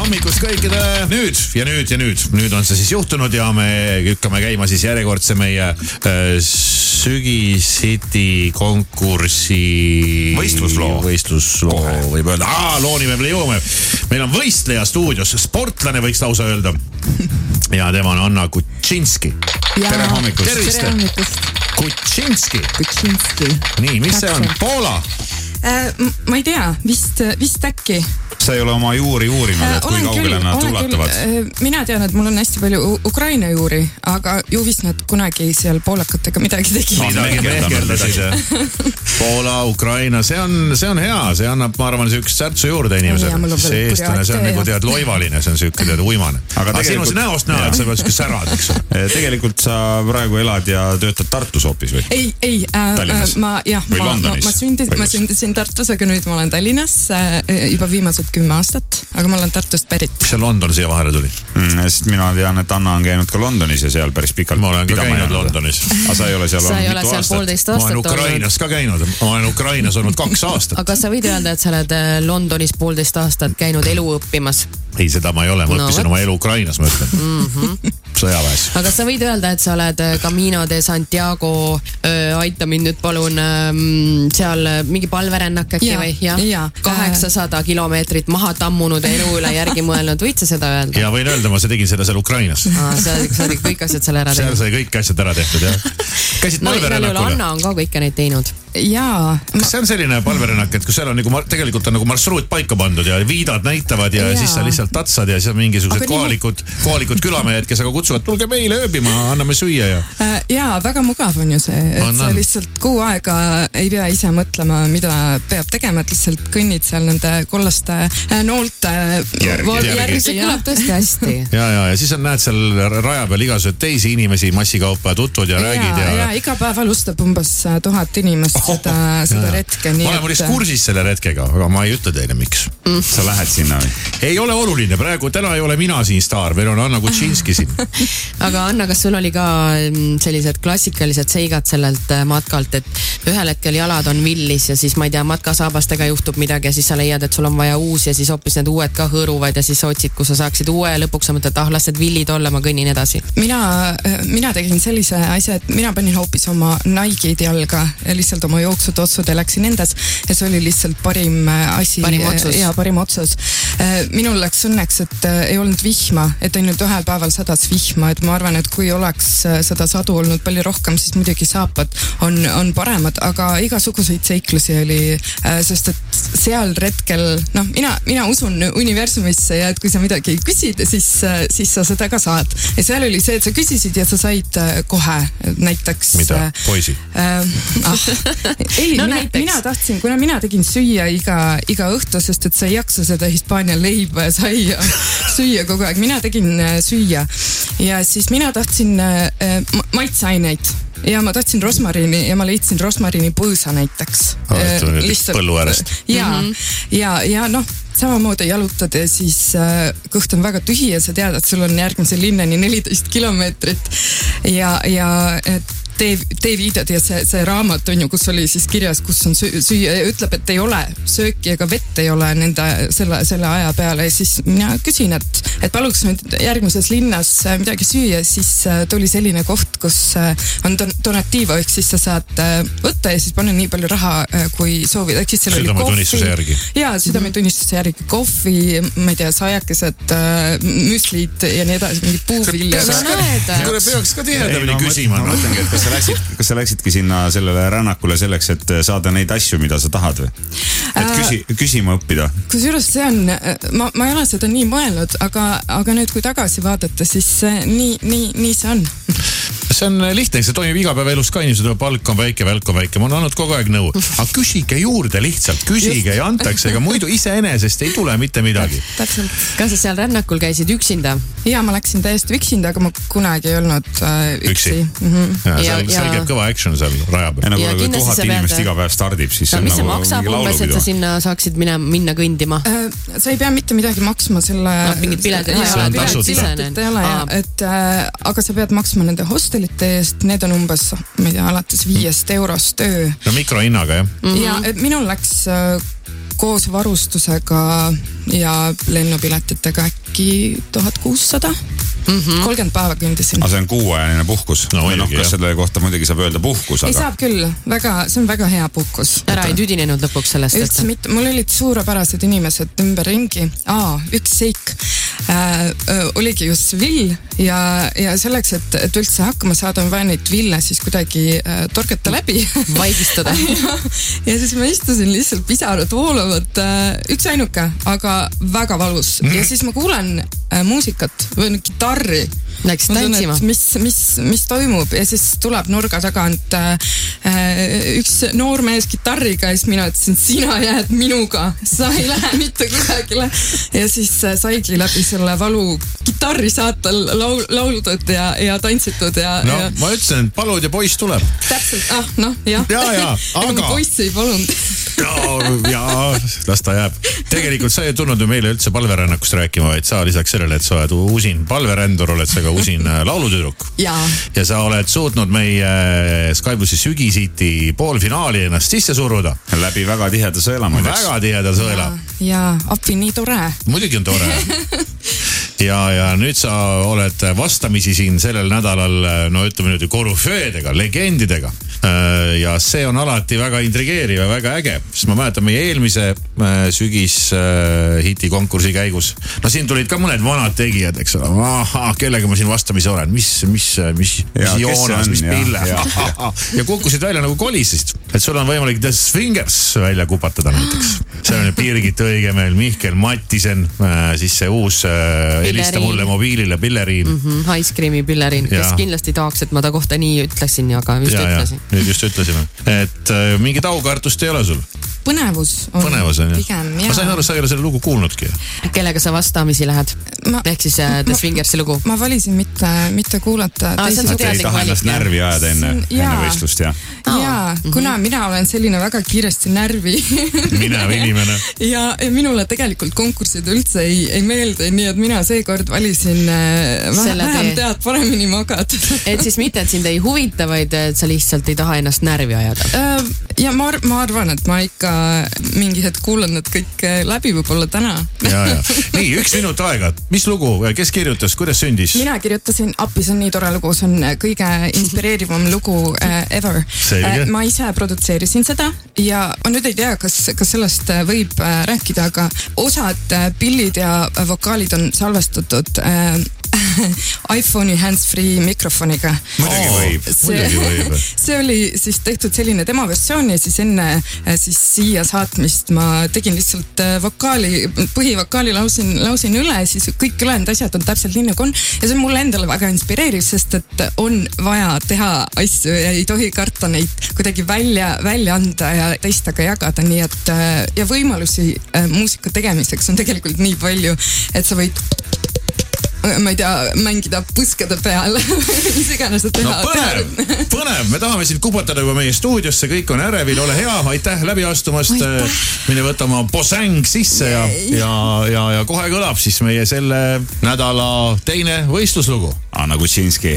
hommikust kõikidele. nüüd ja nüüd ja nüüd, nüüd on see siis juhtunud ja me lükkame käima siis järjekordse meie äh, sügisiti konkursi . Võistlusloo. võistlusloo Kohe. võib öelda , aa looni me veel jõuame . meil on võistleja stuudios , sportlane võiks lausa öelda . ja tema on Anna Kutšinski . Ja- tere hommikust . Tervist! tere hommikust , Kutšinski , Kutšinski . nii , mis see on , Poola ? Äh, ma ei tea , vist , vist äkki . Äh, sa ei ole oma juuri uurinud , Äh, et kui kaugele nad ulatuvad . mina tean , et mul on hästi palju U- Ukraina juuri , aga ju vist nad kunagi seal poolakatega midagi tegid No, . Poola , Ukraina , see on , see on hea , see annab , ma arvan , siukest särtsu juurde Ja mul inimesele on . veel see eestlane , see on kurjaid nagu teie. tead loivaline , see on siuke tead uimane . aga, aga sinu tegelikult- Eh. näost näha , et sa oled siuke särad , eks ole . Äh, tegelikult sa praegu elad ja töötad Tartus hoopis või ? ei , ei äh, , Tallinnas? ma jah , Või ma , ma, Londonis? ma sündisin Või , ma kus? sündisin Tartus , aga nüüd ma olen Tallinnas äh, juba viimased kümme aastat , aga ma olen Tartust pärit . mis seal London siia vahele tuli ? Mm, sest mina tean , et Anna on käinud ka Londonis ja seal päris pikalt . ma olen ka käinud . Londonis . aga sa ei ole seal sa ei olnud mitu ole seal aastat . poolteist ma olen aastat olnud . Ukrainas ka käinud , ma olen Ukrainas olnud kaks aastat . aga sa võid öelda , et sa oled äh, Londonis poolteist aastat käinud elu õppimas , ei , seda ma ei ole , ma No õppisin vot. Mhm. oma elu Ukrainas , ma ütlen . sõjaväes . aga sa võid öelda , et sa oled äh, Camino de Santiago , aita mind nüüd palun , seal äh, mingi palverännak äkki Jaa, või ? jaa. äh. kaheksasada kilomeetrit maha tammunud ja elu üle järgi mõelnud , võid sa seda öelda ? ja võin öelda , ma tegin seda seal Ukrainas . sa oled sa oled kõik asjad seal ära seal teinud . sai kõik asjad ära tehtud , jah . käisid no igal juhul palverännakul ? Anna on ka kõike neid teinud . jaa , kas see on selline palverännak , et kui seal on nagu mar- tegelikult on nagu marsruut paika pandud ja viidad näitavad ja, ja. Jaa. siis sa lihtsalt tatsad ja siis on mingisugused Aga aga nii- kohalikud nii... , kohalikud külamehed , kes aga kutsuvad , tulge meile ööbima , anname süüa ja . Äh, jaa , väga mugav on ju see , On, et sa on. lihtsalt kuu aega ei pea ise mõtlema , mida peab tegema , et lihtsalt kõnnid seal nende kollaste äh, noolte Järgi, val- järgi. järgi, see jah. kõlab tõesti hästi . ja , ja , ja siis on , näed seal raja peal igasuguseid teisi inimesi massikaupa ja tutvud ja, ja räägid ja, ja ja . iga päev alustab umbes äh, tuhat inimest seda , seda retke , nii äh, Mm. ma olen muideks kursis selle retkega , aga ma ei ütle teile , miks . sa lähed sinna või ? ei ole oluline , praegu täna ei ole mina siin staar , meil on Anna Kutšinski siin . aga Anna , kas sul oli ka mm, sellised klassikalised seigad sellelt äh, matkalt , et ühel hetkel jalad on villis ja siis ma ei tea , matkasaabastega juhtub midagi ja siis sa leiad , et sul on vaja uus ja siis hoopis need uued ka hõõruvad ja siis sa otsid , kus sa saaksid uue ja lõpuks sa mõtled , ah las need villid olla , ma kõnnin edasi . mina , mina tegin sellise asja , et mina panin hoopis oma Nike'id jalga , lihtsalt oma jooksutotsud ja läksin endas ja see oli lihtsalt parim äh, asi . Parim otsus. jaa , parim otsus . Äh, minul läks õnneks , et äh, ei olnud vihma , et ainult ühel päeval sadas vihma , et ma arvan , et kui oleks äh, seda sadu olnud palju rohkem , siis muidugi saapad on , on paremad , aga igasuguseid seiklusi oli , sest et seal retkel , noh , mina , mina usun universumisse ja et kui sa midagi küsid , siis , siis sa seda ka saad . ja seal oli see , et sa küsisid ja sa said äh, kohe näiteks . mida , poisi ? Äh, ah. ei No no, , mina, näiteks. mina tahtsin , kuna mina tegin süüa iga , iga õhtu , sest et sa ei jaksa seda Hispaania leiba ja saia süüa kogu aeg , mina tegin äh, süüa . ja siis mina tahtsin äh, äh, ma- maitseaineid ja ma tahtsin rosmariini ja ma leidsin rosmariini põõsa näiteks Äh, Aa, et on nüüd põllu äärest. ja mm , -hmm. ja , ja noh , samamoodi jalutad ja siis äh, kõht on väga tühi ja sa tead , et sul on järgmise linnani neliteist kilomeetrit ja , ja et tee , teeviidad ja see , see raamat on ju , kus oli siis kirjas , kus on süü- süüa ja ütleb , et ei ole sööki ega vett ei ole nende selle , selle aja peale ja siis mina küsin , et , et paluks nüüd järgmises linnas äh, midagi süüa , siis äh, tuli selline koht , kus äh, on don- donatiiva ehk siis sa saad äh, võtta ja siis panna nii palju raha , kui soovid , ehk siis seal oli Südametunnistuse kohvi- järgi. jaa , südametunnistuse järgi kohvi , ma ei tea , saiakesed , müslid ja nii edasi , mingid no puuviljad . näed , äh, kuule , peaks ka tihedamini küsima , ma noh . mõtlengi , et kas sa läksid , kas sa läksidki sinna sellele rännakule selleks , et saada neid asju , mida sa tahad või ? et Äh, küsi , küsima õppida . kusjuures see on , ma , ma ei ole seda nii mõelnud , aga , aga nüüd , kui tagasi vaadata , siis äh, nii , nii , nii see on . see on lihtne , see toimib igapäevaelus ka , inimesed ütlevad , palk on väike , välk on väike , ma olen andnud kogu aeg nõu . aga küsige juurde lihtsalt , küsige ja antakse , ega muidu iseenesest ei tule mitte midagi . täpselt . kas sa seal rännakul käisid üksinda ? ja ma läksin täiesti üksinda , aga ma kunagi ei olnud äh, üksi, Üksi? üksi. . seal Ja- seal ja- käib kõva action seal raja ja peal . nagu Ja kui kindlasti tuhat sa pead- äh, inimest iga päev stardib , siis no on mis see nagu maksab mingi umbes , et laulupidu sa . sinna saaksid minna , minna kõndima ? Äh, sa ei pea mitte midagi maksma selle No, Noh, mingid piletid- jaa, see on piletid- tasuta. piletit ei ole jah Aa. , et äh, aga sa pead maksma nende hostelite eest , need on umbes , ma ei tea , alates viiest eurost öö no mikrohinnaga jah . ja et minul läks äh, koos varustusega ja lennupiletitega äkki tuhat kuussada. kolmkümmend päeva kõndisin aga . see on kuuajaline puhkus No muidugi, noh , jah. kas selle kohta muidugi saab öelda puhkus , ei aga saab küll , väga , see on väga hea puhkus . ära ei tüdinenud lõpuks sellest , üldse et mitte , mul olid suurepärased inimesed ümberringi . aa , üks seik äh, äh, oligi just vill ja , ja selleks , et , et üldse hakkama saada , on vaja neid ville siis kuidagi äh, torgata läbi . vaigistada . ja siis ma istusin lihtsalt , pisarad voolavad äh, , üksainuke , aga väga valus ja siis ma kuulen äh, muusikat või no kitarri . Läksid tantsima? mis , mis , mis toimub ja siis tuleb nurga tagant äh, äh, üks noormees kitarriga ja siis mina ütlesin , sina jääd minuga , sa ei lähe mitte kusagile . ja siis äh, saigi läbi selle valu kitarri saatel laul , lauldud ja , ja tantsitud ja no ja ma ütlesin , et palud ja poiss tuleb . täpselt , ah noh , jah . Jaa, jaa, aga- poiss ei palunud . no jaa , las ta jääb . tegelikult sa ei tulnud ju meile üldse palverännakust rääkima , vaid sa lisaks sellele , et sa oled usin palverändur , oled sa ka usin äh, laulutüdruk . jaa ja sa oled suutnud meie Sky plussi sügisiti poolfinaali ennast sisse suruda . läbi väga tiheda sõela muideks . väga tiheda sõela . jaa , appi nii tore . muidugi on tore . ja , ja nüüd sa oled vastamisi siin sellel nädalal , no ütleme niimoodi korüfeedega , legendidega . ja see on alati väga intrigeeriv ja väga äge , sest ma mäletan meie eelmise äh, sügishiti konkursi käigus . no siin tulid ka mõned vanad tegijad , eks ole , ahah , kellega ma siin vastamisi olen , mis , mis , mis , mis Ja, kes see Joonas , on, mis ja, Pille ja. ja kukkusid välja nagu kolisest , et sul on võimalik The Swingers välja kupatada näiteks . seal on ju Birgit Õigemeel , Mihkel Mattisen , siis see uus äh, helista Pilleriin. mulle mobiilile pilleriin mm . Mhm, Ice cream'i pillerin , kes Jaa. kindlasti tahaks , et ma ta kohta nii ütleksin , aga just ja , ja ütlesin . nüüd just ütlesime , et äh, mingit aukartust ei ole sul , põnevus on põnevus on ju . Mm, pigem ma sain jaa aru ,. sa ei ole selle lugu kuulnudki . kellega sa vastamisi lähed Ma- ? ehk siis äh, The ma- Swingersi lugu . ma valisin mitte , mitte kuulata Aa, see on teisi su Te ei teadlik taha ennast valik, jah. närvi ajada enne , See on- jaa. enne võistlust jah ? Aa, mhm. jaa , kuna mina olen selline väga kiiresti närvi minev inimene . ja , ja minule tegelikult konkursid üldse ei , ei meeldi , nii et mina seekord valisin äh, vä- Selle vähem tee. tead , paremini magad et siis mitte , et sind ei huvita , vaid äh, et sa lihtsalt ei taha ennast närvi ajada . Äh, ja ma , ma arvan , et ma ikka mingi hetk kuulan need kõik äh, läbi võib-olla täna . ja , ja nii üks minut aega , mis lugu , kes kirjutas , kuidas sündis ? mina kirjutasin appi , see on nii tore lugu , see on äh, kõige inspireerivam lugu äh, ever Äh, Selge. . ma ise produtseerisin seda ja ma nüüd ei tea , kas , kas sellest äh, võib äh, rääkida , aga osad äh, pillid ja äh, vokaalid on salvestatud äh, iPhone'i hands-free mikrofoniga . muidugi võib . muidugi võib . see oli siis tehtud selline tema versioon ja siis enne äh, siis siia saatmist ma tegin lihtsalt äh, vokaali , põhivokaali lausin , lausin üle , siis kõik ülejäänud asjad on täpselt nii nagu on . ja see on mulle endale väga inspireeriv , sest et on vaja teha asju ja ei tohi karta neid kuidagi välja , välja anda ja teistega jagada , nii et äh, ja võimalusi äh, muusika tegemiseks on tegelikult nii palju , et sa võid ma ei tea , mängida põskade peal , mis iganes sa no teha . põnev , põnev , me tahame sind kupatada juba meie stuudiosse , kõik on ärevil , ole hea , aitäh läbi astumast . mine võta oma posäng sisse ja , ja , ja , ja kohe kõlab siis meie selle nädala teine võistluslugu . Anna Kutšinski